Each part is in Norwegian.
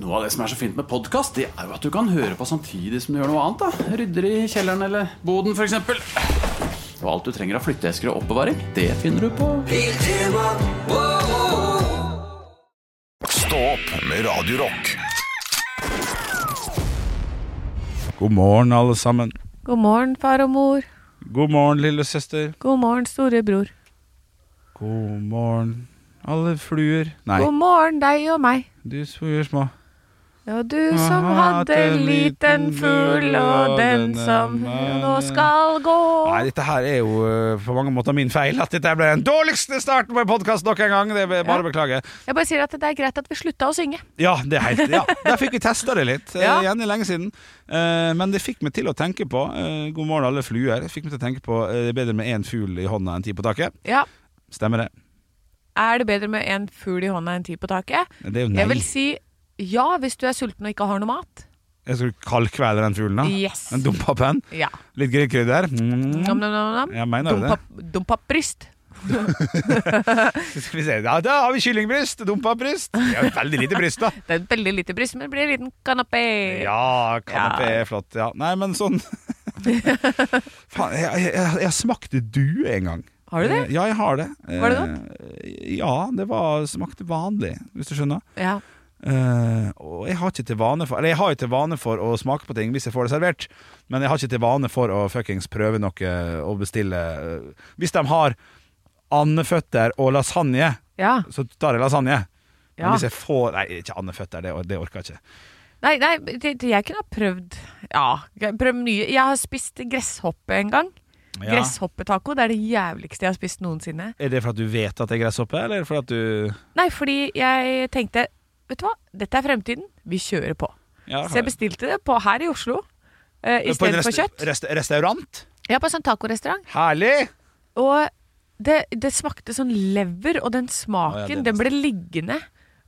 Noe av det som er så fint med podkast, det er jo at du kan høre på samtidig som du gjør noe annet. da Rydder i kjelleren eller boden, f.eks. Og alt du trenger av flytteesker og oppbevaring, det finner du på Stå opp med Radio Rock. God morgen, alle sammen. God morgen, far og mor. God morgen, lillesøster. God morgen, storebror. God morgen, alle fluer. Nei, God morgen, deg og meg. du fluer små. Og du som Aha, at hadde en liten liten fugl, og den denne som mannen. nå skal gå. Nei, dette her er jo eh, på mange måter min feil. At dette ble den dårligste starten på en podkast nok en gang. Det er bare å beklage. Jeg bare sier at det er greit at vi slutta å synge. Ja, det er helt, ja. Der fikk vi testa det litt. eh, Ja. Igjen det er lenge siden. Eh, men det fikk meg til å tenke på eh, God morgen, alle fluer. Det Fikk meg til å tenke på eh, det er bedre med én fugl i hånda enn ti på taket. Ja, Stemmer det? Er det bedre med en fugl i hånda enn ti på taket? Det er jo nei. Jeg vil si ja hvis du er sulten og ikke har noe mat. Jeg skal kaldkvele den fuglen, da. Yes. Den dumpa penn. Ja. Litt grillkrydder. Mm. Nam, nam, nam, nam. Jeg mener det. Dumpa, dumpa bryst. Skal vi se, ja, Da har vi kyllingbryst, dumpa bryst. Det er jo veldig lite bryst, da. Det er et veldig lite bryst, men det blir en liten kanapé. Ja, kanapé er flott. Ja. Nei, men sånn Faen, jeg, jeg, jeg, jeg smakte due en gang. Har du det? Ja, jeg har det. Var det Eh, Ja, det var, smakte vanlig, hvis du skjønner. Ja. Eh, og jeg har ikke til vane for Eller jeg har jo til vane for å smake på ting hvis jeg får det servert, men jeg har ikke til vane for å fuckings prøve noe og bestille eh, Hvis de har andeføtter og lasagne, ja. så tar jeg lasagne. Men ja. hvis jeg får Nei, ikke andeføtter, det, or- det orker jeg ikke. Nei, nei det, det, jeg kunne ha prøvd Ja, jeg- prøvd mye. Jeg har spist gresshoppe en gang. Gresshoppetaco. Det er det jævligste jeg har spist noensinne. Er det for at du vet at det er gresshoppe, eller for at du Nei, fordi jeg tenkte Vet du hva, dette er fremtiden. Vi kjører på. ja, Så jeg bestilte det på her i Oslo. Uh, På en Istedenfor rest- kjøtt. rest- restaurant? Ja, på en sånn tacorestaurant. Herlig! Og det, det smakte sånn lever, og den Å, smaken, ja, det er den ble liggende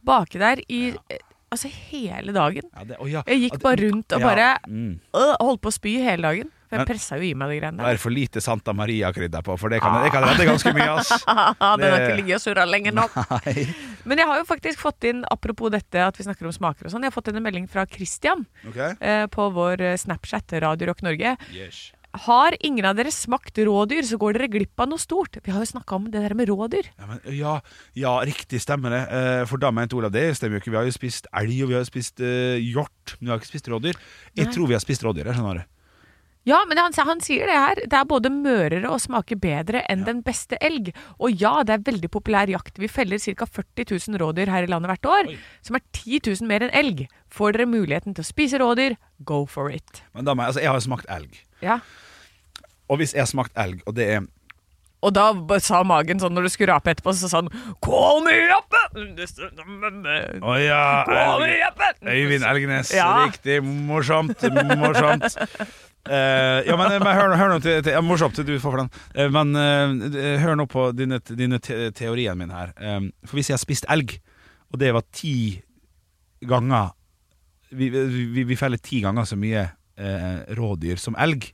baki der i eh, Altså hele dagen. Ja, det, å ja. Jeg gikk At- bare rundt og bare Altså, ja. mm. øh, holdt på å spy hele dagen. For Men- jeg pressa jo i meg de greiene der. Det er for lite Santa Maria-krydder på, for det kan, det kan redde ganske mye, ass. Ah, den har Det- ikke ligget og surra lenge nok. Nei. Men jeg har jo faktisk fått inn, apropos dette at vi snakker om smaker og sånn, jeg har fått inn en melding fra Christian Ok. eh, på vår eh, Snapchat, Radio Rock Norge. Yes. Har ingen av dere smakt rådyr, så går dere glipp av noe stort. Vi har jo snakka om det der med rådyr. Ja, men, ja, ja, riktig stemmer det. Eh, For da mente Olav det stemmer jo ikke. Vi har jo spist elg, og vi har jo spist eh, hjort, men vi har ikke spist rådyr. Jeg Nei. tror vi har spist rådyr, jeg skjønner det. Ja, men han, han sier det her. Det er både mørere og smaker bedre enn den beste elg. Og ja, det er veldig populær jakt. Vi feller ca. 40 000 rådyr her i landet hvert år, som er 10 000 mer enn elg. Får dere muligheten til å spise rådyr, go for it. Men da, må jeg- altså, jeg har jo smakt elg. Ja. Og hvis jeg har smakt elg, og det er Og da b- sa magen sånn når du skulle rape etterpå, så sa den Call me up! Call Å ja! me elg. up! Øyvind Elgenes. Ja. Riktig. Morsomt. Morsomt. Eh, ja, men, men hør, nå- hør nå til, til ja, Morsomt, du får for den. Eh, men eh, hør nå på dine, dine te teoriene mine her. Eh, for hvis jeg har spist elg, og det var ti ganger Vi, vi, vi- vi feller ti ganger så mye eh, rådyr som elg.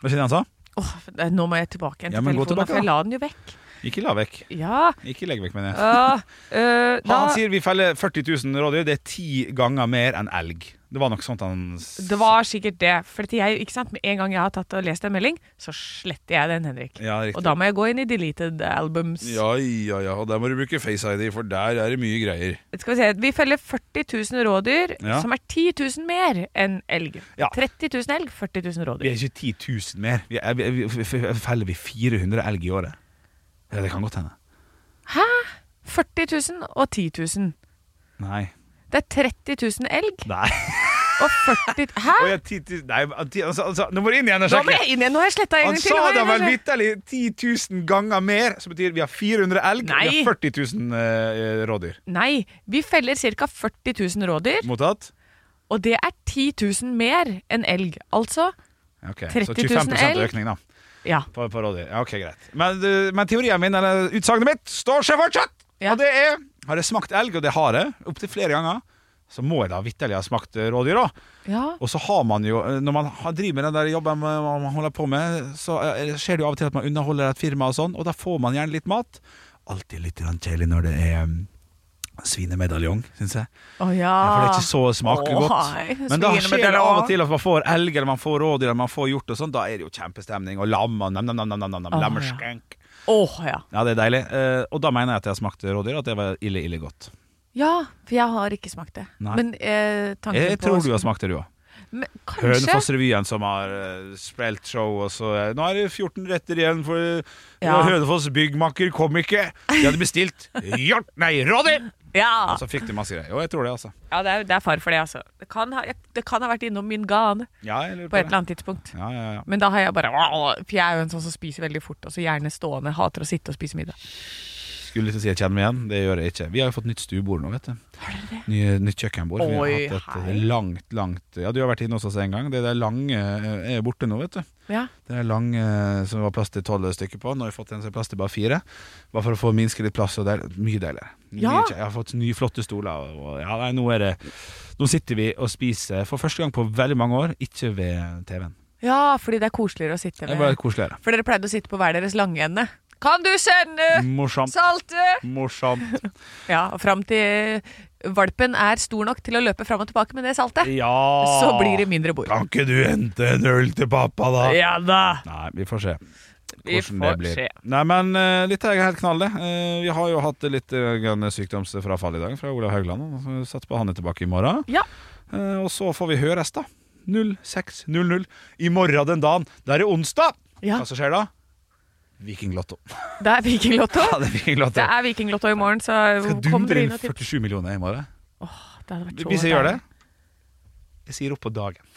Hva skjedde han sa? Åh, det- nå må jeg tilbake igjen Ja, til men gå telefonen, tilbake, for jeg da. la den jo vekk. Ikke la vekk. Ja. Ikke legg vekk, mener jeg. øh, øh, da, Han sier vi feller 40 000 rådyr. Det er ti ganger mer enn elg. Det var nok sånt han s- det var sikkert det. For at jeg, ikke sant? Med en gang jeg har tatt og lest en melding, så sletter jeg den, Henrik. ja, riktig. Og da må jeg gå inn i deleted albums. Ja, ja, ja, og der må du bruke Face ID, for der er det mye greier. Skal Vi se, vi følger 40 000 rådyr, Ja. som er 10 000 mer enn elg. Ja. 30 000 elg, 40 000 rådyr. Vi er ikke 10 000 mer. Vi er, vi, vi, vi- feller vi 400 elg i året? Ja, det kan godt hende. 40 000 og 10 000. Nei. Det er 30 000 elg Nei. og 40 Hæ? Oi, ja, 10 000, nei men, ti- altså, altså, nå må du inn igjen og Nå må sjekke. jeg inn igjen. Nå har jeg sletta en Han gang til. Nå sa har jeg da vel kanskje- vitterlig 10 000 ganger mer, som betyr vi har 400 elg og vi Nei. har 40 000 eh, rådyr. Nei. Vi feller ca. 40 000 rådyr, Mottatt? og det er 10 000 mer enn elg. Altså Ok, 30 Så 000 25 elg. økning, da. Ja. På, på rådyr. Ja, ok, greit. Men, du- men teorien min, eller utsagnet mitt, står seg fortsatt! Ja. Og det er Har jeg smakt elg, og det har jeg, opptil flere ganger, så må jeg da vitterlig ha smakt eh, rådyr, da. ja. Og så har man jo eh, Når man har, driver med den der jobben man man holder på med, så eh, skjer det jo av og til at man underholder et firma og sånn, og da får man gjerne litt mat. Alltid litt grann kjedelig når det er eh, svinemedaljon, syns jeg. Å ja. For det er ikke så smaker Ah. Åh, nei, godt. Men da skjer det svinemedaljon. av og til at man får elg, eller man får rådyr, eller man får hjort og sånn. Da er det jo kjempestemning. Og lam og nam-nam-nam. ja. Lammeskank. Åh, ja. Ja, det er deilig. Eh, og da mener jeg at jeg har smakt rådyr, at det var ille, ille godt. ja, for jeg har ikke smakt det. Nei. Men eh, tanken Jeg på tror du har smakt det, du òg. Men, kanskje. Hønefoss-revyen som har uh, spilt show, og så eh, Nå er det 14 retter igjen, for eh, Ja. Hønefoss byggmaker kom ikke. De hadde bestilt hjort, nei, rådyr! Ja. Og så fikk de masse greier. Jo, jeg tror det, altså. ja, det er, det er far for det, altså. Det kan ha, det kan ha vært innom min gan Ja, jeg lurer på på et eller det. annet tidspunkt. Ja, ja, ja. Men da har jeg bare For jeg er jo en sånn som spiser veldig fort, og så gjerne stående. Hater å sitte og spise middag. Skulle til å si jeg kjenner meg igjen, det gjør jeg ikke. Vi har jo fått nytt stuebord nå, vet du. Nye, nytt kjøkkenbord. Vi Oi, har hatt hei. et langt, langt Ja, du har vært inne hos oss en gang. Det der lange eh, er borte nå, vet du. Ja. Det er lang eh, som var plass til tolv stykker på. Nå har vi fått en som er plass til bare fire. Bare for å få minske litt plass. Og det er mye deiligere. Mye Ja. kje- Jeg har fått nye, flotte stoler. Og, og, ja, nei, nå, er det, nå sitter vi og spiser for første gang på veldig mange år, ikke ved TV-en. ja, fordi det er koseligere å sitte Det er med. bare koseligere. For dere pleide å sitte på hver deres lange ende. Kan du sende Morsomt. saltet? Morsomt. Ja, og fram til valpen er stor nok til å løpe fram og tilbake med det saltet. Ja! Så blir det mindre bord. Kan ikke du hente en øl til pappa, da? Ja da! Nei, vi får se. Hvordan Vi det får blir. se. Nei, men eh, litt er helt knall, det. Eh, vi har jo hatt litt eh, grann sykdomsfrafall i dag fra Olav Haugland. og så Satser på han er tilbake i morgen. Ja. Eh, og så får vi høres, da. 06.00 i morgen den dagen. Da er det onsdag! Ja. Hva som skjer da? Vikinglotto. Det er Vikinglotto. Ja, det er Det Vikinglotto. er Vikinglotto i morgen, så Skal kom dundre dere inn inn og tipp. 47 millioner i morgen. Det hadde vært så Hvis jeg gjør det deilig. Jeg sier opp på dagen.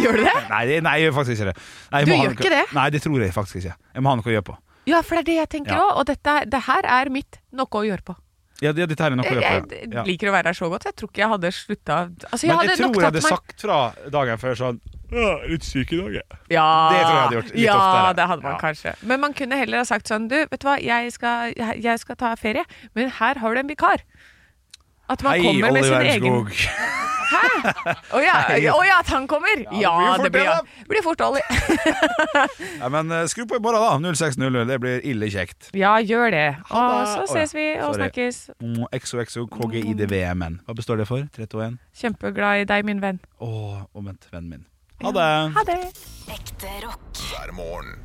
Gjør du det? Nei, det- nei, jeg gjør faktisk ikke det. Nei, jeg Du må ha gjør noe- ikke det? Nei, det tror jeg faktisk ikke. Jeg må ha noe å gjøre på. Ja, for det er det jeg tenker Ja. òg. Og dette, det her er mitt noe å gjøre på. Ja, det- dette her er noe å Jeg, gjøre på. jeg ja. Ja. liker å være her så godt. Jeg tror ikke jeg hadde slutta Altså, jeg Men hadde jeg tror nok jeg tatt hadde meg sagt fra dagen før sånn «Åh, Litt syk i dag, jeg. ja, Det tror jeg hadde gjort litt ja, oftere. det hadde man Ja. kanskje. Men man kunne heller ha sagt sånn Du, vet du hva, jeg skal, jeg, jeg skal ta ferie, men her har du en vikar. At man kommer med sin egen Å ja, å ja, at han kommer! Ja, Ja, det det blir fort blir, det, ja. da. blir fort Ollie. Ja, men eh, skru på i morgen, da. 06.00. Det blir ille kjekt. Ja, gjør det. Og Ha det. så Å ja, ses vi og sorry. snakkes. Mm, XOXO KGIDVMN. Hva består det for? 321? Kjempeglad i deg, min venn. Å, omvendt vennen min. Ha det. Ha det. Ekte rock. hver morgen.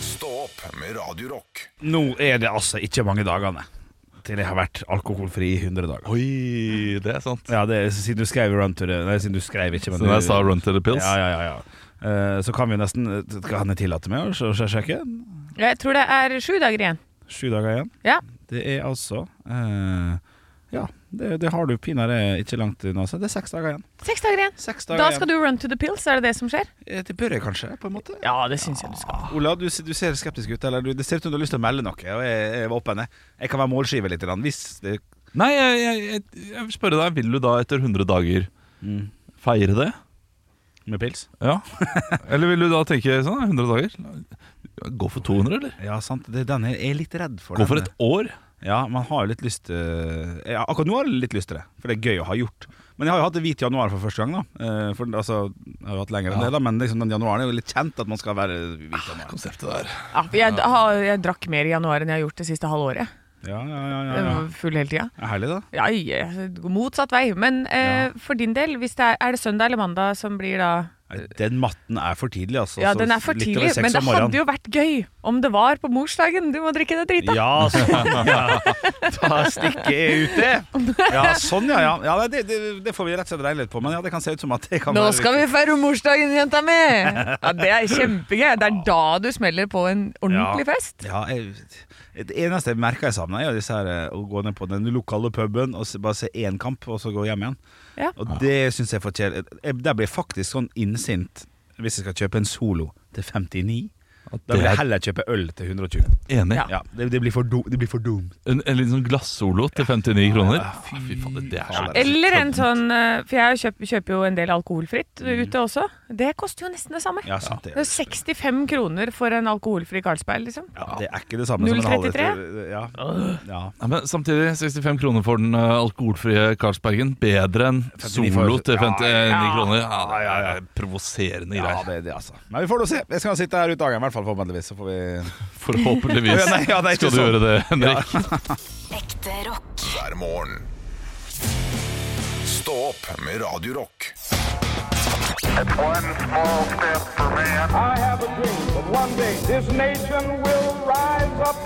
Stå opp med Radio Rock. Nå er det altså ikke mange dagene til jeg har vært alkoholfri i 100 dager. Oi, det er sant. Ja, det er siden du skrev Run to the Nei, siden du skrev ikke, men Så når jeg du- sa Run to the Pills Ja, ja, ja, ja. Eh, Så kan vi nesten Kan jeg tillate meg å sj- sj- sjekke? Jeg tror det er sju dager igjen. Sju dager igjen. Ja. Det er altså eh, Ja, det, det har du pinadø ikke langt unna. Så det er seks dager igjen. Seks dager igjen. Seks dager Da skal du run to the pills, er det det som skjer? igjen. Det bør jeg kanskje, på en måte. Ja, det syns jeg du skal. Ola, du, du ser skeptisk ut. Eller du, det ser ut som du har lyst til å melde noe. Og jeg, jeg var åpen. jeg. Jeg kan være målskive litt. grann, Hvis det Nei, jeg, jeg, jeg, jeg vil spørre deg, vil du da etter 100 dager Mm. feire det? Med pils? Ja. Eller vil du da tenke sånn, 100 dager? Gå for 200, eller? Ja, sant. Det, er den jeg er litt redd for. Gå for den. et år? Ja, man har jo litt lyst øh, ja, Akkurat nå har jeg litt lyst til det, for det er gøy å ha gjort. Men jeg har jo hatt hvit januar for første gang, da. Eh, For altså, jeg har jo hatt lenger enn Ja. det, da, men liksom, den januaren er jo litt kjent at man skal være hvit januar. Konseptet der. Ja, for jeg, har, jeg drakk mer i januar enn jeg har gjort det siste halvåret. Ja, ja, ja, ja, Jeg ja. var Full hele tida. Er herlig, da. Ja, jeg- motsatt vei. Men eh, for din del, hvis det er, er det søndag eller mandag som blir da Nei, Den matten er for tidlig, altså. Ja, Så den er for litt over tidlig, seks men det om morgenen. hadde jo vært gøy om det var på morsdagen. Du må drikke deg drita. Ja, sånn, ja. Da stikker jeg ut det. Ja, sånn, ja. ja. ja nei, det, det, det får vi rett og slett regne litt på, men ja, det kan se ut som at det kan Nå være skal vi feire morsdagen, jenta mi! Ja, det er kjempegøy. Det er da du smeller på en ordentlig fest. Ja, jeg, det eneste jeg merker jeg savner, er jo disse her, eh, å gå ned på den lokale puben og se, bare se én kamp, og så gå hjem igjen. Ja. Og det syns jeg er for kjedelig. Jeg- Der blir jeg faktisk sånn innsint hvis jeg skal kjøpe en Solo til 59. Da det vil jeg er- heller kjøpe øl til 120. Enig. Ja. Ja, det, det, blir, for dum, det blir for dumt. En, en liten sånn glassolo til 59 kroner. Fy, faen, det er så faen. Eller en sånn eh, For jeg kjøper, kjøper jo en del alkoholfritt ute også. Det koster jo nesten det samme. Mm. Ja, sant det. Det er 65 kroner for en alkoholfri Carlsberg, liksom. Ja, det er ikke det samme som en 0,33? halvliter. Ja. Ja. Ja, men samtidig, 65 kroner for den eh, alkoholfrie Carlsbergen. Bedre enn 59 for- Solo til 59 Ja, kroner. Ja, det er provoserende Ja, greier. det er det, altså. Men vi får nå se. Jeg skal sitte her ut dagen, i hvert fall forhåpentligvis. Så får vi Forhåpentligvis Ja, nei, ja, det er ikke skal du sånn. gjøre det, Henrik. Ekte rock. hver morgen. Stå opp med Radio Rock. One small step for man. I have a dream that one day this nation will rise up.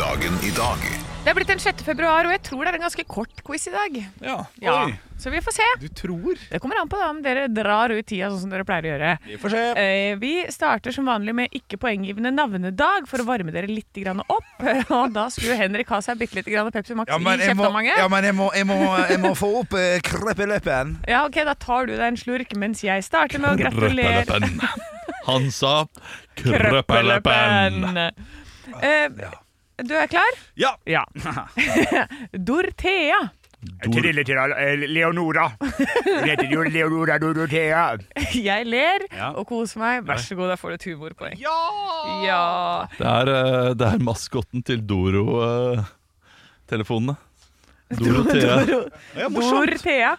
Dagen i dag Det er blitt den 6. februar, og jeg tror det er en ganske kort quiz i dag. Ja. Oi. Så vi får se. Du tror? Det kommer an på da, om dere drar ut tida sånn som dere pleier å gjøre. Vi får se. Eh, Vi starter som vanlig med ikke-poenggivende navnedag for å varme dere litt grann opp. Og da skulle Henrik ha seg bitte litt grann Pepsi Max Ja, men i jeg må, kjeftemanget. ja, men jeg må, jeg må, jeg må få opp eh, kreppeleppen. Ja, ok, da tar du deg en slurk mens jeg starter med å gratulere Krøppeleppen. Han sa krøppeleppen. krøppeleppen. Eh, du er klar? Ja. Ja. Dorthea. eh, Leonora. Leonora Dorothea. Jeg ler Ja. og koser meg. Vær så god, da får du et humorpoeng. Ja! Ja. Det er, eh, det er maskotten til eh, Doro-telefonene. Dorothea. Doro- Ja, morsomt. Dorthea.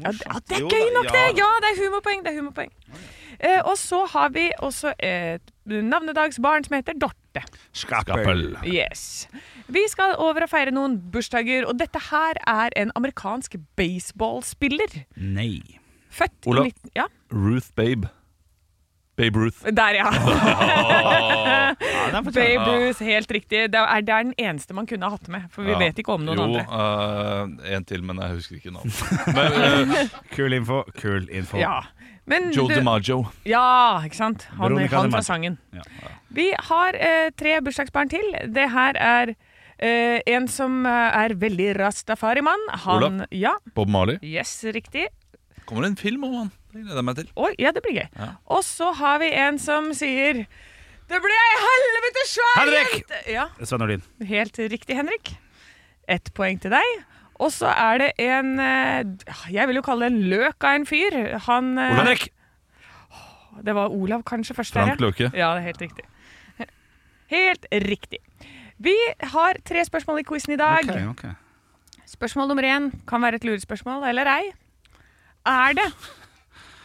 Ja, det, ja, det er Jo gøy da, nok, det! ja da. Ja, det er humorpoeng. det er humorpoeng. Eh, og så har vi også et navnedagsbarn som heter Dorte. Skappel. Skappel. Yes. Vi skal over og feire noen bursdager, og dette her er en amerikansk baseballspiller. Nei. Født Ola. i 19... Ja, Ruth Babe. Babe Ruth. der ja. Ja, den fortjener- Babe Ruth, helt riktig. Det er det er den eneste man kunne ha hatt med, for vi Ja. vet ikke om noen jo, andre. eh, en til, men jeg husker ikke navnet. Men, eh, Kul info. Kul info. Ja. Men Joe du- DiMaggio. Ja, ikke sant? Han, Veronica han fra DiMaggio. sangen. Ja. Vi har eh, tre bursdagsbarn til. Det her er eh, en som eh, er veldig rastafarimann. Han Olav. Ja, Bob Marley. yes, riktig. Kommer det en film om han? Det gleder jeg meg til. Oi, ja, det blir gøy. Og så har vi en som sier Det ble ei helvete svær Henrik!» jente! Ja, Sven Nordin. helt riktig, Henrik. Ett poeng til deg. Og så er det en eh, Jeg vil jo kalle det en løk av en fyr. Han eh, Henrik. Det var Olav kanskje først der, ja. Frank Løke. Ja, det er helt riktig. Helt riktig. Vi har tre spørsmål i quizen i dag. Ok, ok. Spørsmål nummer én kan være et lurespørsmål eller ei. Er det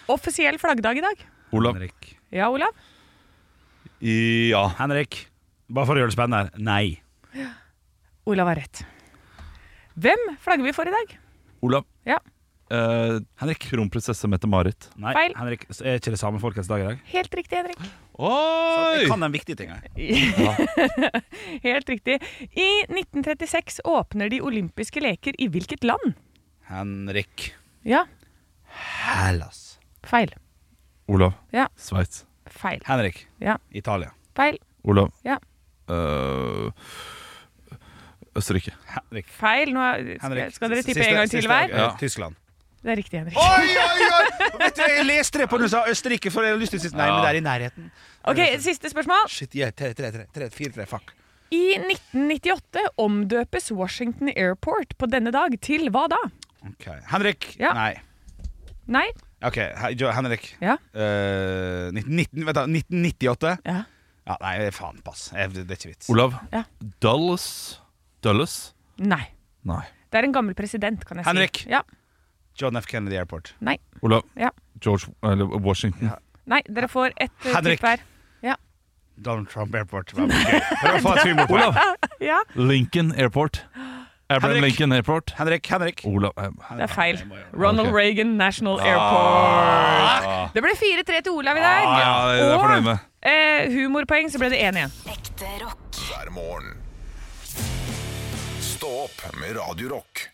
offisiell flaggdag i dag? Olav. Henrik. Ja, Olav? Ja. Henrik. Bare for å gjøre det spennende her. Nei. Olav har rett. Hvem flagger vi for i dag? Olav. Ja. Eh, Henrik. Kronprinsesse Mette-Marit. Nei. Feil. Henrik, er ikke det samme folkets dag i dag? Helt riktig, Henrik. Oi! Jeg kan den viktige tinga. Helt riktig. I 1936 åpner de olympiske leker i hvilket land? Henrik. Ja, Hellas. feil. Olav. Ja. Sveits. Feil. Henrik. Ja. Italia. Feil. Olav. Ja. Eh, Østerrike. Henrik. Feil. Nå er- Henrik. skal dere tippe Siste- en gang til siste- hver? eh, Ja. Tyskland. Det er riktig, Henrik. Oi, oi, oi! Vet du, Jeg leste det på når du sa Østerrike, for jeg har lyst til å si Nei, men det er i nærheten. Ok, Siste spørsmål. Shit, yeah, tre, tre, tre, tre, fire, tre, fuck. I 1998 omdøpes Washington Airport på denne dag til hva da? Ok. Henrik. Ja. Nei. Nei? Ok, he- Jo- Henrik. Ja. Eh, 1919 vet du, 1998. Ja. Ja, nei, faen, pass. Jeg, det er ikke vits. Olav. Ja. Dulles. Dulles? Nei. Nei. Det er en gammel president, kan jeg Henrik. si. Ja. John F. Kennedy Airport. Nei. Olav. Ja. George eller Washington. Nei, dere får ett eh, Henrik. tipp hver. Donald Trump Airport. Hva var det? Prøv å få et humorpoeng. Olav. Ja, Lincoln Airport. Abraham Henrik. Lincoln Airport. Henrik, Henrik. Olav eh, det er feil. Ronald Ok. Reagan National Airport. Det ble 4-3 til Olav i dag. Ah! Ja, det er jeg fornøyd med. Og eh, humorpoeng, så ble det 1 igjen. Ekte rock. hver morgen. Stå opp med Radio Rock.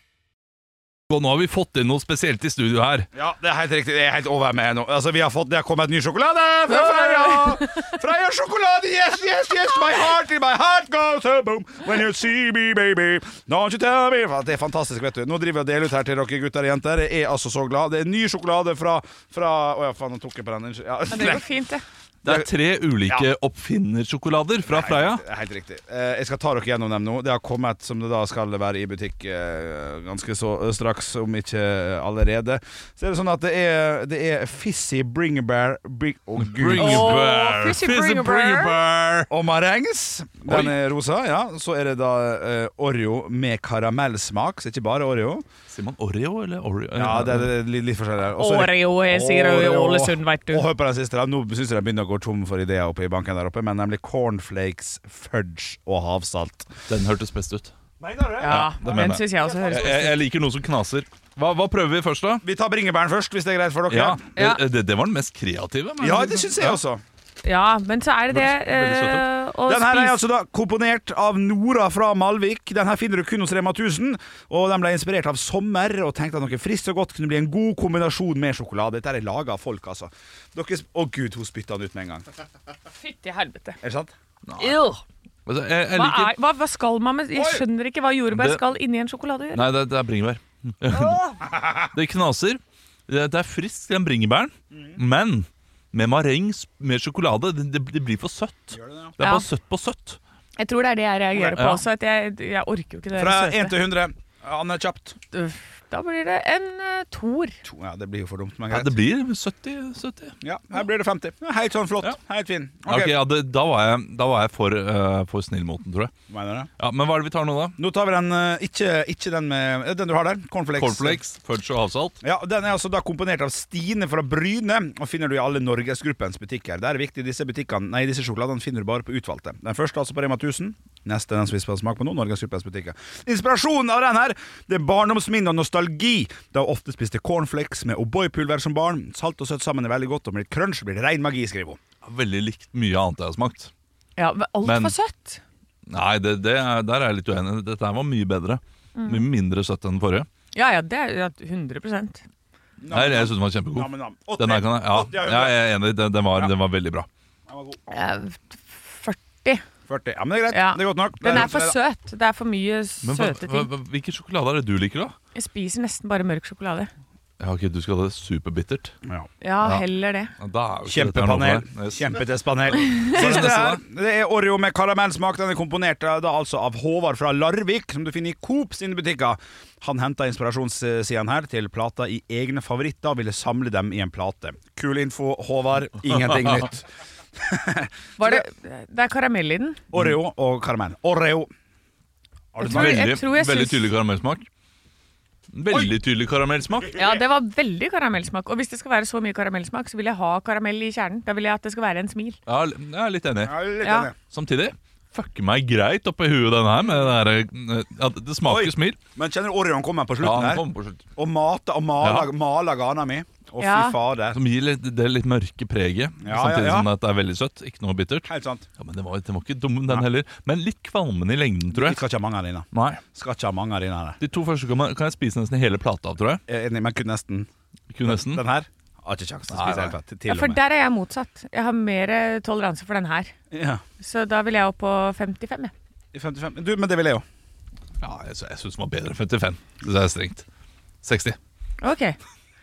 Og nå har vi fått inn noe spesielt i studio her. Ja, det er helt riktig. Det er helt over med nå. Altså, vi har fått, det har kommet ny sjokolade fra Freia! Freia sjokolade! Yes, yes, yes! My heart, my heart goes a boom when you see me, baby. Don't you tell me Det er fantastisk, vet du. Nå driver vi og deler ut her til dere gutter og jenter. Jeg er altså så glad. Det er ny sjokolade fra fra Å ja, faen, nå tok jeg på den. Unnskyld. Ja, Men det går fint, det. Det er tre ulike oppfinnersjokolader fra Freia. Helt, helt riktig. Eh, jeg skal ta dere gjennom dem nå. Det har kommet som det da skal være i butikk eh, ganske så straks, om ikke eh, allerede. Så er det sånn at det er, det er Fizzy Bringbear Bring, Oh, Å, Gud. Bring a Åh, bear. fizzy Fizzy bring a bring a bear. bear. Og marengs. Den er rosa. ja Så er det da eh, Oreo med karamellsmak, så ikke bare Oreo. Sier man Oreo eller Oreo? Ja, det er, det er litt, litt forskjellig. her. Og så er det- Oreo, jeg sier det i Oreo. Ålesund, veit du. Og hør på den siste. da Nå syns jeg de begynner å gå tom for ideer oppe i banken der oppe, men nemlig cornflakes, fudge og havsalt. Den hørtes best ut. Mener du det? Ja, det mener den jeg. syns jeg også høres Jeg, jeg liker noe som knaser. Hva, hva prøver vi først, da? Vi tar bringebæren først, hvis det er greit for dere. Ja, Ja. Det, det, det var den mest kreative. men- Ja, det syns jeg Ja. også. Ja, men så er det det Veldig søtt, eh, å Den her er spise altså da komponert av Nora fra Malvik. Den her finner du kun hos Rema 1000. Og den ble inspirert av sommer og tenkte at noe friskt og godt kunne bli en god kombinasjon med sjokolade. Dette er laga av folk, altså. Dere sp- Å gud, hun spytta den ut med en gang. Fytti helvete. Er det sant? Ew. Altså, jeg, jeg Hva, liker er, hva, hva skal man med Jeg skjønner ikke hva jordbær Det- skal inni en sjokolade gjøre. Nei, det, det er bringebær. det knaser. Det, det er friskt, den bringebæren. Men med mareng s- med sjokolade, det, det, det blir for søtt. Det, er Ja. bare søtt på søtt. Jeg tror det er det jeg reagerer på Ja. også. At jeg, jeg orker jo ikke det Fra 1 søte. til 100. Anne, kjapt. Uff, Da blir det en eh, toer. To. Ja, det blir jo for dumt, men Ja, greit. det blir 70. 70. Ja, her blir det 50. Ja, Helt sånn flott. Ja. Helt fin. Ja, ok, Ok, ja, det, da, var jeg, da var jeg for, uh, for snill mot den, tror jeg. mener du? Ja, men hva er det vi tar nå, da? Nå tar vi den eh, ikke, ikke den med eh, Den du har der. Cornflakes. Cornflakes, fudge og havsalt. Ja, Den er altså da komponert av Stine fra Bryne, og finner du i alle norgesgruppens butikker. Det er viktig, disse butikkene Nei, disse sjokoladene finner du bare på utvalgte. Den første altså på Rema 1000. Neste er den som vi skal smake på nå, norgesgruppens butikker. Inspirasjonen av den her, det er barndomsminne og nostalgi. Da jeg ofte spiste cornflakes med O'boy-pulver som barn. Salt og søtt sammen er veldig godt, og med litt crunch blir det rein magi, skriver hun. Veldig likt mye annet jeg har smakt. Ja, men Men- altfor søtt. Nei, det, det er, der er jeg litt uenig. Dette her var mye bedre. Mye mindre søtt enn den forrige. Ja ja, det er ja, 100 Nei, jeg syns den var kjempegod. Nam, nam. Åtte. Den her kan jeg, Åtte, ja, ja, jeg er enig, den, den, var, den var veldig bra. Den var god. Eh, 40. 40. Ja, men det er greit. Ja. Det er godt nok. Den er for Det søt. Det er for mye Men hva, søte hva, ting. hva, hvilken sjokolade er det du liker, da? Jeg spiser nesten bare mørk sjokolade. Ja, ok, Du skal ha det superbittert. Ja. Ja, Ja. heller det. Ja, da er jo ikke dette her noe Kjempepanel. for deg. Yes. Kjempetestpanel. Siste her, det er Oreo med karamellsmak. Den er komponert eh, da altså av Håvard fra Larvik, som du finner i Coop sine butikker. Han henta inspirasjonssiden her til plata i egne favoritter og ville samle dem i en plate. Kul info, Håvard. Ingenting nytt. Var det, det er karamell i den. Oreo og karamell. Oreo. Har du Jeg tror- smakt? Veldig, jeg veldig syns- tydelig karamellsmak. Veldig tydelig karamellsmak. Ja, det var veldig karamellsmak. Og hvis det skal være så mye karamellsmak, så vil jeg ha karamell i kjernen. Da vil jeg at det skal være en smil. Ja, l- jeg er litt enig. Ja, litt Ja. enig. Samtidig fucker meg greit oppi huet, den her. Med det, her eh, ja, det smaker Oi. smil. Men kjenner du Oreoen kommer på Ja, slutten den her? kommer på slutt. Og mata og mala, Ja. mala gana mi. Å, fy Ja. fader. Som gir litt, det litt mørke preget, Ja, ja, samtidig ja. som det at det er veldig søtt. Ikke noe bittert. Helt sant. Ja, men det var, den var ikke dum, den heller. Men litt kvalmende i lengden, tror Vi jeg. skal ikke ha mange av dine. Nei. Skal ikke ha mange av dine. her. De to første kan, man, kan jeg spise nesten hele plata av, tror jeg. Jeg er Enig, men kun nesten. Kun nesten. Den her har ikke kjangs til å Nei, spise nei. helt tatt. Ja, Til for og med. der er jeg motsatt. Jeg har mer eh, toleranse for den her. Ja, Så da vil jeg opp på 55, jeg. i 55. Du, men det vil jeg jo. Ja, jeg, sy- jeg syns den var bedre. 55. Det er strengt. 60. Ok.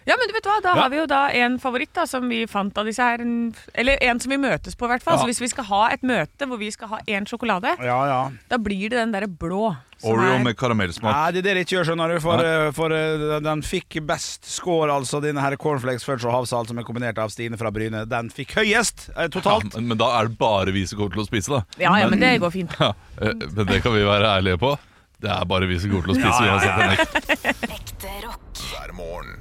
Ja, men du vet hva, da Ja. har vi jo da en favoritt da, som vi fant av disse her. en- Eller en som vi møtes på, i hvert fall. Ja. Så hvis vi skal ha et møte hvor vi skal ha én sjokolade, Ja, ja. da blir det den derre blå. som Oreo er- med karamellsmak. Nei, det er det de ikke gjør, skjønner du. For, Nei. eh, for eh, den fikk best score, altså. Denne her cornflakes, fudge og havsalt som er kombinert av Stine fra Bryne. Den fikk høyest eh, totalt. Ja, men- men da er det bare vi som kommer til å spise, da. Ja, ja, men det går fint. Ja, eh, men det kan vi være ærlige på. Det er bare vi som kommer til å spise uansett. Henrik. Ekte rock. hver morgen.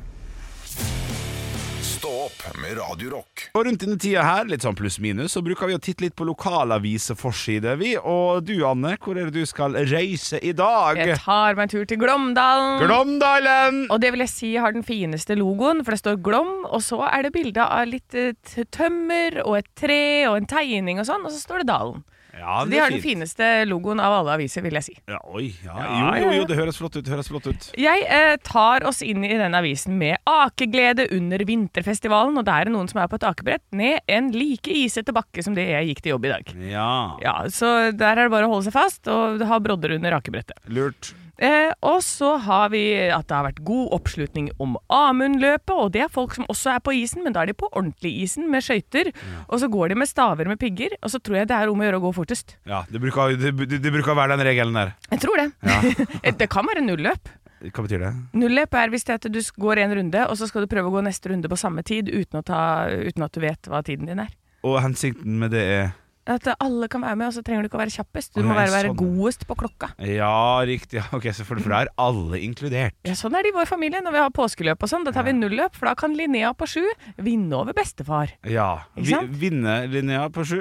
Stå opp med Radio Rock. Og rundt denne tida her, litt sånn pluss-minus, så bruker vi å titte litt på lokalaviseforsider, vi. Og du, Anne, hvor er det du skal reise i dag? Jeg tar meg en tur til Glåmdalen. Glåmdalen! Og det vil jeg si har den fineste logoen, for det står Glom, og så er det bilde av litt eh, t- tømmer og et tre og en tegning og sånn, og så står det Dalen. Ja, Så det de er har den fint. fineste logoen av alle aviser, vil jeg si. Ja, oi, ja. Ja, Jo, jo, ja, jo, ja. det høres flott ut. Det høres flott ut. Jeg eh, tar oss inn i denne avisen med akeglede under vinterfestivalen, og det er noen som er på et akebrett ned en like isete bakke som det jeg gikk til jobb i dag. Ja, Ja, Så der er det bare å holde seg fast og ha brodder under akebrettet. lurt. Eh, og så har vi at det har vært god oppslutning om Amundløpet, og det er folk som også er på isen, men da er de på ordentlig isen med skøyter, og så går de med staver med pigger, og så tror jeg det er om å gjøre å gå fortest. Ja, det bruker, det, det, det bruker å være den regelen der. Jeg tror det. det kan være nulløp. Hva betyr det? Nulløp er hvis det er at du s- går en runde, og så skal du prøve å gå neste runde på samme tid uten, å ta, uten at du vet hva tiden din er. Og hensikten med det er At alle kan være med, og så trenger du ikke å være kjappest. Å, Du må ja, være, være sånn. godest på klokka. Ja, riktig. Ok, så for, for da er alle inkludert. Ja, sånn er det i vår familie når vi har påskeløp og sånn. Da tar vi nulløp, for da kan Linnea på sju vinne over bestefar. Ja. Ikke Vi, sant? vinne Linnea på sju?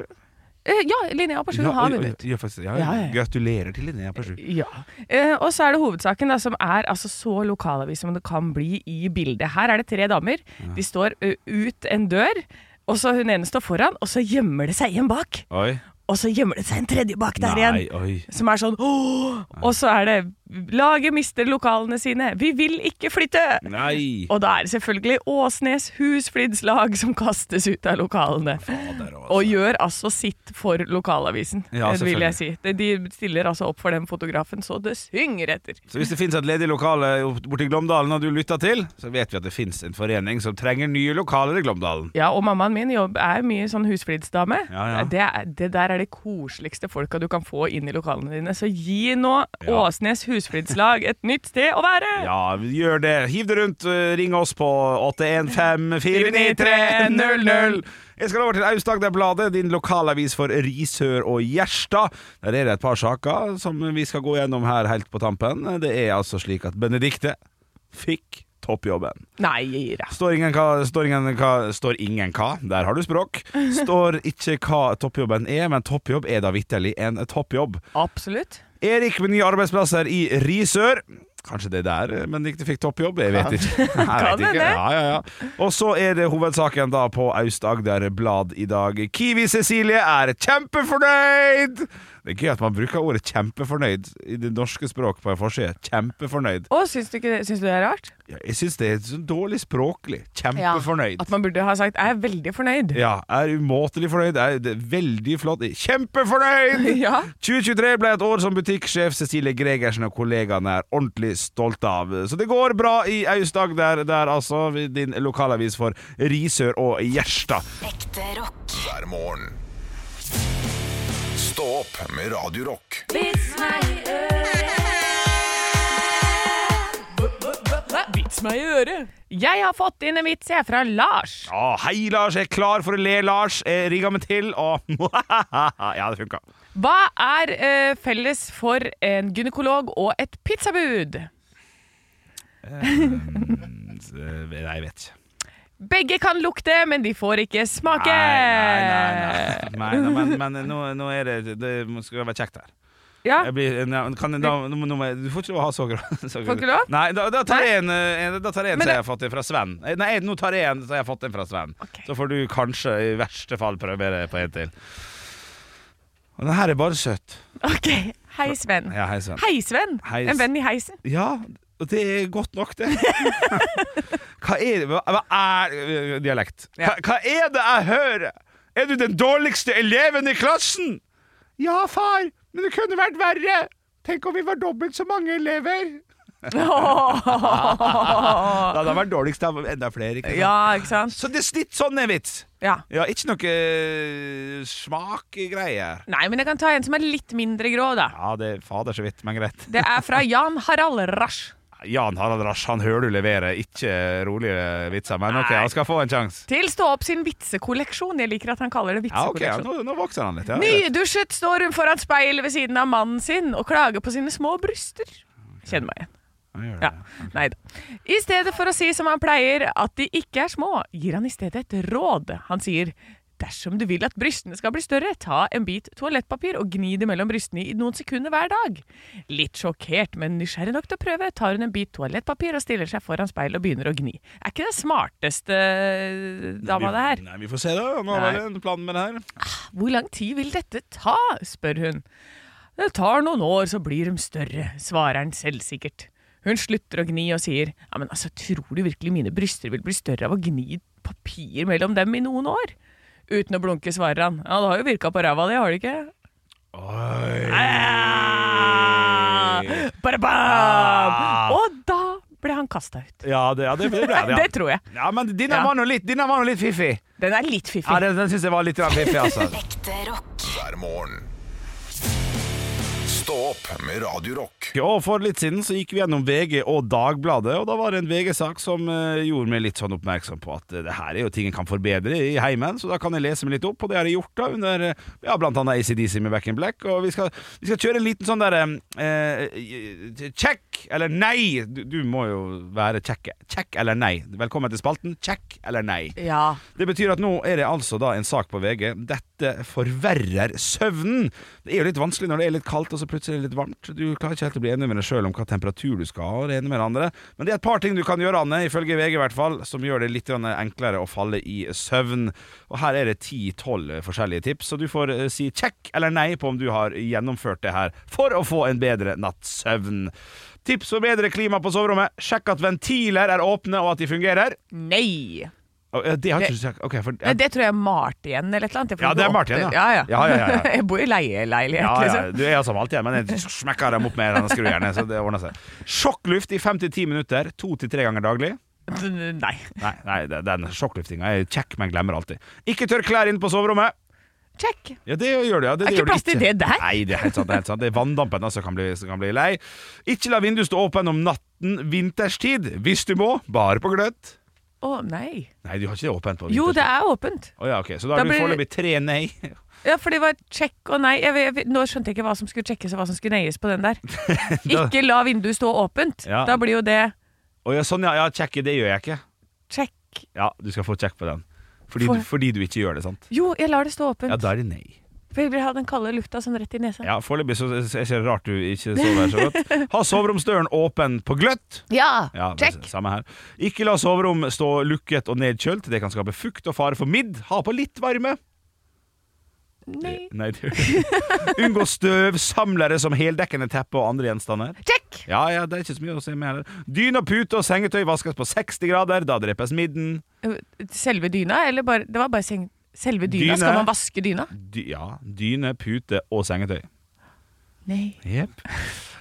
Eh, ja, Linnea Porsgrunn har ja, vunnet. ja, faktisk, ja, Ja, ja. Gratulerer til Linnea Persrud. Ja. Eh, og så er det hovedsaken, da, som er altså, så lokalavis som det kan bli i bildet. Her er det tre damer. De står ø, ut en dør. Og så Hun ene står foran, og så gjemmer det seg en bak. Oi. Og så gjemmer det seg en tredje bak der igjen. Nei, oi. Som er sånn «Åh!» Og så er det 'Laget mister lokalene sine. Vi vil ikke flytte!' Nei. Og da er det selvfølgelig Åsnes Husflidslag som kastes ut av lokalene. Og gjør altså sitt for lokalavisen, Ja, eh, vil selvfølgelig. jeg si. De- De stiller altså opp for den fotografen så det synger etter. Så hvis det finnes et ledig lokale borti Glåmdalen og du lytter til, så vet vi at det finnes en forening som trenger nye lokaler i Glåmdalen. Ja, og mammaen min jobb er mye sånn husflidsdame. Ja, ja. Det, er- det der er de koseligste folka du kan få inn i lokalene dine. Så gi nå Ja. Åsnes Husflidslag et nytt sted å være! Ja, gjør det. Hiv det rundt. eh, Ring oss på 815-493-00. Jeg skal over til Aust-Agder-bladet, din lokalavis for Risør og Gjerstad. Der er det et par saker som vi skal gå gjennom her helt på tampen. Det er altså slik at Benedikte fikk toppjobben. Nei, da. Står ingen hva, står ingen hva, står ingen hva, der har du språk. Står ikke hva toppjobben er, men toppjobb er da vitterlig en toppjobb. Absolutt. Erik med nye arbeidsplasser i Risør. Kanskje det er der Benedicte fikk toppjobb? Jeg vet ikke. Jeg Kan vet hende. ikke. Ja, ja, ja. Og så er det hovedsaken da på Aust-Agder Blad i dag. Kiwi-Cecilie er kjempefornøyd! Det er gøy at man bruker ordet 'kjempefornøyd' i det norske språk på en forside. Kjempefornøyd. Å, syns du, ikke det, syns du det er rart? Ja, Jeg syns det er så dårlig språklig. Kjempefornøyd. At man burde ha sagt 'jeg er veldig fornøyd'. Ja, er umåtelig fornøyd. Er det er veldig flott. Kjempefornøyd! Ja. 2023 ble et år som butikksjef Cecilie Gregersen og kollegaene er ordentlig stolte av. Så det går bra i Aust-Agder, der altså din lokalavis for Risør og Gjerstad. Ekte rock. hver morgen. Stå opp med Radio Rock. Vits meg i øret. Jeg har fått inn en vits jeg fra Lars. Ja, hei, Lars. Jeg er klar for å le, Lars. Jeg rigga meg til, og Ja, det funka. Hva er eh, felles for en gynekolog og et pizzabud? Nei, jeg vet ikke. Begge kan lukte, men de får ikke smake. Nei, nei, nei. nei, nei men, men nå, nå er det Det skal være kjekt her. Ja, Jeg blir, nei, kan, jeg- da, nå, må- nå, må jeg- du får ikke lov å ha så grå. så grå- Får ikke lov? Nei, da, da tar jeg en, eh, en, da tar jeg en Men som jeg har det- fått fra Sven. Eh, Nei, nå tar jeg en som jeg har fått en fra Sven. Ok. Så får du kanskje i verste fall prøve det på en til. Og den her er bare søt. ok. Hei, Sven. Ja, hei, Sven. Hei, Sven. Hei, En venn i heisen. Ja, og det er godt nok, det. Hva er det hva- Hva er eh, Dialekt. Hva, hva er det jeg hører? Er du den dårligste eleven i klassen? Ja, far, men det kunne vært verre. Tenk om vi var dobbelt så mange elever. Da hadde han vært dårligst av enda flere. Ikke sant? Ja, ikke sant? Så det er litt sånn en vits. Ja. Ja, ikke noe eh, smakgreier. Nei, men jeg kan ta en som er litt mindre grå, da. Ja, det er fader så vidt, men greit. Det er fra Jan Harald Rasch. Jan Harald Rasch, han hører du leverer ikke rolige vitser, men ok, han skal få en sjanse. Til Stå opp sin vitsekolleksjon. Jeg liker at han kaller det Ja, ok, ja, nå, vitsekolleksjon. nå vokser han litt. Ja. Nydusjet står hun foran speilet ved siden av mannen sin og klager på sine små bryster. Kjenn meg igjen. Han gjør det. Ja, nei da. I stedet for å si som han pleier, at de ikke er små, gir han i stedet et råd. Han sier dersom du vil at brystene skal bli større, ta en bit toalettpapir og gni det mellom brystene i noen sekunder hver dag. Litt sjokkert, men nysgjerrig nok til å prøve, tar hun en bit toalettpapir og stiller seg foran speilet og begynner å gni. Er ikke det smarteste eh, dama det her? Vi, nei, vi får se, da. Nå Nei. var det en plan med det her. Hvor lang tid vil dette ta? spør hun. Det tar noen år, så blir de større, svarer han selvsikkert. Hun slutter å gni og sier, ja, men altså, tror du virkelig mine bryster vil bli større av å gni papir mellom dem i noen år? Uten å blunke svarer han, ja, det har jo virka på ræva di, har det ikke? Ah, Bare bam! Og da ble han kasta ut. Ja, det, ja, det, det ble det. Det Ja. tror jeg. Ja, men denne Ja. var nå litt, denne var nå litt fiffig. Den er litt fiffig. Ja, den, den syns jeg var litt grann fiffig, altså. Ekte rock. hver morgen. Stå opp med Radio Rock. Og For litt siden så gikk vi gjennom VG og Dagbladet, og da var det en VG-sak som eh, gjorde meg litt sånn oppmerksom på at eh, det her er jo ting jeg kan forbedre i heimen, så da kan jeg lese meg litt opp, og det har jeg gjort da under eh, ja, blant annet ACDC med Back in Black. Og vi skal, vi skal kjøre en liten sånn derre Check eller nei! Du, du må jo være check, check eller nei. Velkommen til spalten Check eller nei. Ja. Det betyr at nå er det altså da en sak på VG. Dette Dette forverrer søvnen. Det er jo litt vanskelig når det er litt kaldt og så plutselig er det litt varmt. Du klarer ikke helt å bli enig med deg sjøl om hva temperatur du skal ha. og det ene med det andre. Men det er et par ting du kan gjøre, Anne, ifølge VG i hvert fall, som gjør det litt grann enklere å falle i søvn. Og Her er det 10-12 forskjellige tips, så du får eh, si check eller nei på om du har gjennomført det her for å få en bedre natts søvn. Tips for bedre klima på soverommet. Sjekk at ventiler er åpne og at de fungerer. Nei! Å, ja, Det har ikke du sagt. Ok, for, Nei, det tror jeg er Mart igjen eller et eller annet. Ja, det er Mart igjen, ja. ja. Ja, Ja, ja, ja, ja. jeg bor i leieleilighet, ja, ja, liksom. du er altså valgt igjen, men jeg smekker dem opp med denne skrujernet, så det ordner seg. Sjokkluft i 5-10 minutter, 2-3 ganger daglig. liksom. Nei. Nei, nei det- den sjokkluftinga er kjekk, men glemmer alltid. Ikke tørr klær inn på soverommet. Check. Ja, det gjør du, ja. Det, det Er ikke gjør du plass til det der? Nei, det er helt sant. Det er, helt sant. Det er vanndampen da som kan, bli- som kan bli lei. Ikke la vinduet stå åpen om natten vinterstid, hvis du må, bare på gløtt. Å, nei. Nei, du har ikke det åpent på vinterstid. Jo, det er åpent. Å ja, ok. Så da Da har du blir- foreløpig tre nei. Ja, for det var check og nei. Jeg, vet- jeg, vet- nå skjønte jeg ikke hva som skulle sjekkes og hva som skulle neies på den der. Ikke la vinduet stå åpent. Ja. Da blir jo det Å ja, sånn ja. Ja, kjekke, det gjør jeg ikke. check. Ja, du skal få kjekk på den. Fordi, du, fordi du ikke gjør det, sant? Jo, jeg lar det stå åpent. Ja, da er det nei. For jeg vil ha den kalde lufta sånn rett i nesa. Ja, Foreløpig så så- så er det ikke rart du ikke sover så godt. Ha soveromsdøren åpen på gløtt. Ja, Ja, det er check. Samme her. Ikke la soverom stå lukket og nedkjølt. Det kan skape fukt og fare for midd. Ha på litt varme. Eh, Nei. Nei, det Unngå støv, samlere som heldekkende teppe og andre gjenstander. Check. Ja, ja, det er ikke så mye å si med heller. Dyne, pute og sengetøy vaskes på 60 grader. Da drepes midden. Selve dyna, eller bare Det var bare seng... Selve dyna. Dyne. Skal man vaske dyna? Dy ja, dyne, pute og sengetøy. Nei. Jepp.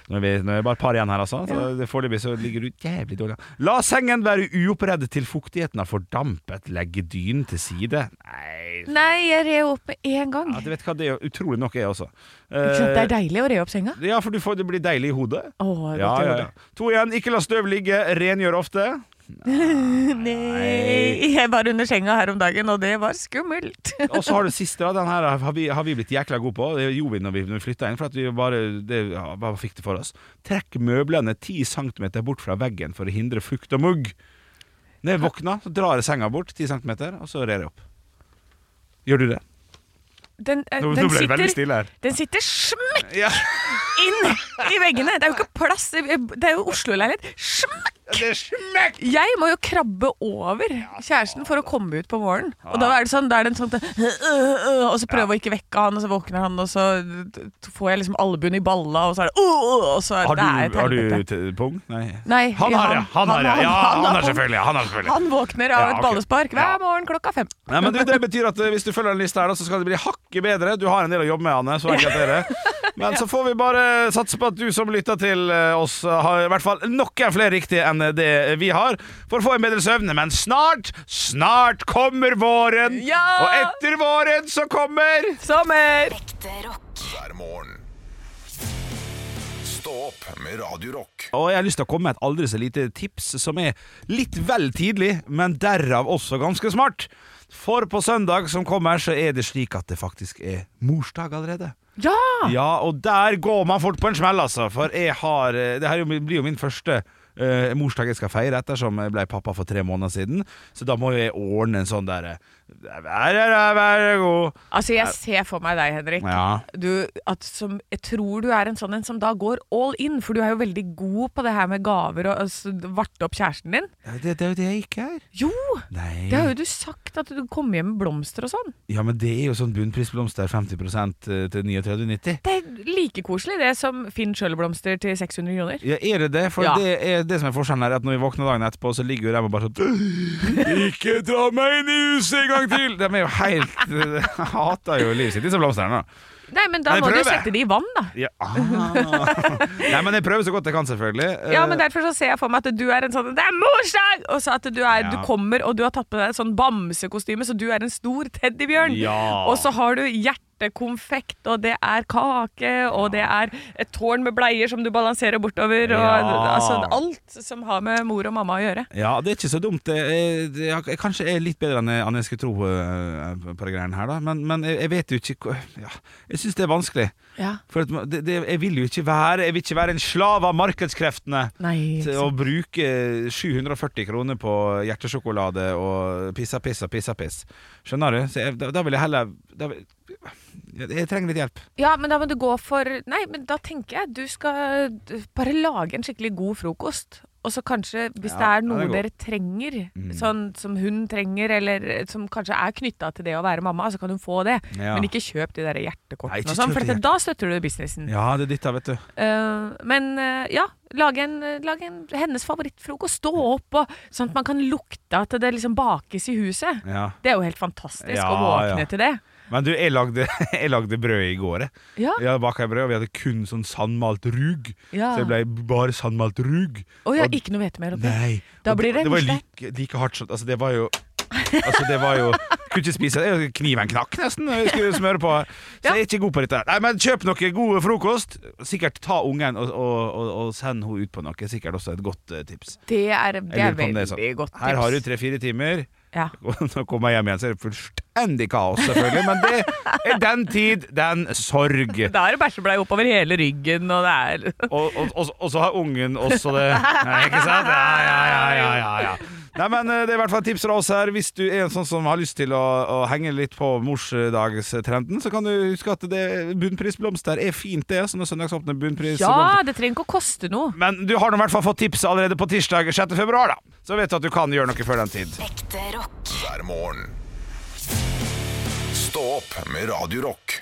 Nå er, vi, nå er det bare et par igjen her, altså. Så det Foreløpig så ligger du jævlig dårlig an. La sengen være uoppredd til fuktigheten har fordampet. Legge dynen til side. Nei Nei, jeg re opp med en gang. ja, Du vet hva, det er jo utrolig nok jeg også. Ikke sant, Det Eh, er deilig å re opp senga. ja, for du får, det blir deilig i hodet. Åh, godt Ja, i ja, hodet. ja. To igjen. Ikke la støv ligge. Rengjør ofte. Nei. Jeg var under senga her om dagen, og det var skummelt. Og så har du siste, da. Den her har vi, har vi blitt jækla gode på. Det gjorde vi når vi, når vi flytta inn. For at vi bare, det, ja, bare fikk det for oss. Trekk møblene 10 cm bort fra veggen for å hindre fukt og mugg. Når jeg våkna, så drar jeg senga bort 10 cm, og så rer jeg opp. Gjør du det? Den, eh, Nå, den nå ble det veldig sitter, stille her. den sitter smekk Ja, inn i veggene! Det er jo ikke plass. Det er jo Oslo-leilighet. Smekk! det smekk! Jeg må jo krabbe over kjæresten for å komme ut på morgenen. Og da er det sånn, da er det en sånn Og så prøver jeg å ikke vekke han, og så våkner han, og så får jeg liksom albuen i balla, og så er det øh, Og så er Har det, det er du, et har du helvete. t- pung? Nei. Nei, Han har det, han har det. Ja, han har han- selvfølgelig. Han har selvfølgelig. Han våkner av Ja, et ok. ballespark Ja. hver morgen klokka fem. Nei, men du, Det betyr at eh, hvis du følger den lista her, da, så skal det bli hakket bedre. Du har en del å jobbe med, Anne. Så enkelt er det. Men så får vi bare satse på at du som lytter til eh, oss, har i hvert fall noen flere riktige enn eh, det vi har, for å få en bedre søvn. Men snart, snart kommer våren! Ja! Og etter våren så kommer Sommer! Ekte rock. hver morgen. Stå opp med Radio Rock. Og jeg har lyst til å komme med et aldri så lite tips som er litt vel tidlig, men derav også ganske smart. For på søndag som kommer, så er det slik at det faktisk er morsdag allerede. Ja! Ja, og der går man fort på en smell, altså. For jeg har eh, Det her er jo- blir jo min første eh, morsdag jeg skal feire, ettersom jeg ble pappa for tre måneder siden. Så da må jo jeg ordne en sånn derre Vær her, vær god. Altså, jeg ser for meg deg, Henrik. Ja. Du, at som, jeg tror du er en sånn en som da går all in, for du er jo veldig god på det her med gaver og altså, varte opp kjæresten din. Det, det er jo det jeg ikke er. Jo! Nei. Det har jo du sagt, at du kom hjem med blomster og sånn. Ja, men det er jo sånn bunnprisblomster 50 til 39,90. Det er like koselig det som Finn Schjøll-blomster til 600 kroner. Ja, er det det? For Ja. det, er det som er forskjellen her, er at når vi våkner dagen etterpå, så ligger jo dem og bare sånn Ikke dra meg inn i huset en gang til! De er jo helt de Hater jo livet sitt, disse blomstene. da. Nei, men da Nei, må prøv du jo det. sette det i vann, da. Ja. Nei, men jeg prøver så godt jeg kan, selvfølgelig. Ja, men derfor så ser jeg for meg at du er en sånn Det er morsdag! Og så at du, er, Ja. du kommer og du har tatt på deg et sånn bamsekostyme, så du er en stor teddybjørn. Ja. Og så har du hjertekonfekt, og det er kake, og det er et tårn med bleier som du balanserer bortover, og Ja. altså alt som har med mor og mamma å gjøre. Eh, Ja, det er ikke så dumt. Jeg, jeg, jeg, jeg kanskje er litt bedre enn jeg, enn jeg skulle tro eh, på de greiene her, da. Men, men jeg, jeg vet jo ikke hvor- ja, Jeg syns det er vanskelig. Ja. For at, det, det, jeg vil jo ikke være Jeg vil ikke være en slav av markedskreftene. Nei. Til å bruke 740 kroner på hjertesjokolade og pissa, pissa, pissa, piss. Skjønner du? Så jeg, da, da vil jeg heller da vil, Jeg trenger litt hjelp. Ja, men da må du gå for Nei, men da tenker jeg du skal d- bare lage en skikkelig god frokost. Og så kanskje, hvis det Ja, er ja, noe det er godt. Mm. dere trenger, sånn som hun trenger, eller eh, som kanskje er knytta til det å være mamma, så kan hun få det. Ja. Men ikke kjøp de der Nei, ikke hjertekortene og sånn, kjøp for de dette, da støtter du businessen. Ja, det er ditt da, vet du. Eh, men eh, ja, lage en, lage en hennes favorittfrokost. Stå opp, og, sånn at man kan lukte at det liksom bakes i huset. Ja. Det er jo helt fantastisk Ja, å våkne ja. til det. Men du, jeg lagde, jeg lagde brød i går. jeg. Ja. Vi hadde baka brød, og vi hadde kun sånn sandmalt rug. Ja. Så det ble bare sandmalt rug. Å ja, Og- ikke noe hvete mer oppi. Nei. Da Og blir det det var jo musle. like, like hardt som Altså, det var jo Altså, det var jo Kunne ikke spise det. Kniven knakk nesten når jeg skulle smøre på. Så Ja. jeg er ikke god på dette. her. Nei, men kjøp noe god frokost. Sikkert ta ungen og, og, og, og send henne ut på noe. Sikkert også et godt eh, tips. Det er, Jeg det er lurer på om veldig sånn. godt tips. Her har du tre-fire timer. Ja. Og Nå kommer jeg hjem igjen, så er det fullstendig kaos, selvfølgelig. Men det er den tid, den sorg. Da er det bæsjebleie oppover hele ryggen, og det er Og, og, og, og så har ungen også det. Nei, ikke sant? Ja, ja, ja, ja, ja, ja. Nei, men eh, Det er i hvert fall et tips fra oss her. Hvis du er en sånn som har lyst til å, å henge litt på morsdagstrenden, så kan du huske at det bunnprisblomster er fint, det. Sånne søndagsåpne bunnprisblomster. Ja, det trenger ikke å koste noe. Men du har nå i hvert fall fått tips allerede på tirsdag 6. februar, da. Så vet du at du kan gjøre noe før den tid. Ekte rock. hver morgen. Stå opp med Radio Rock.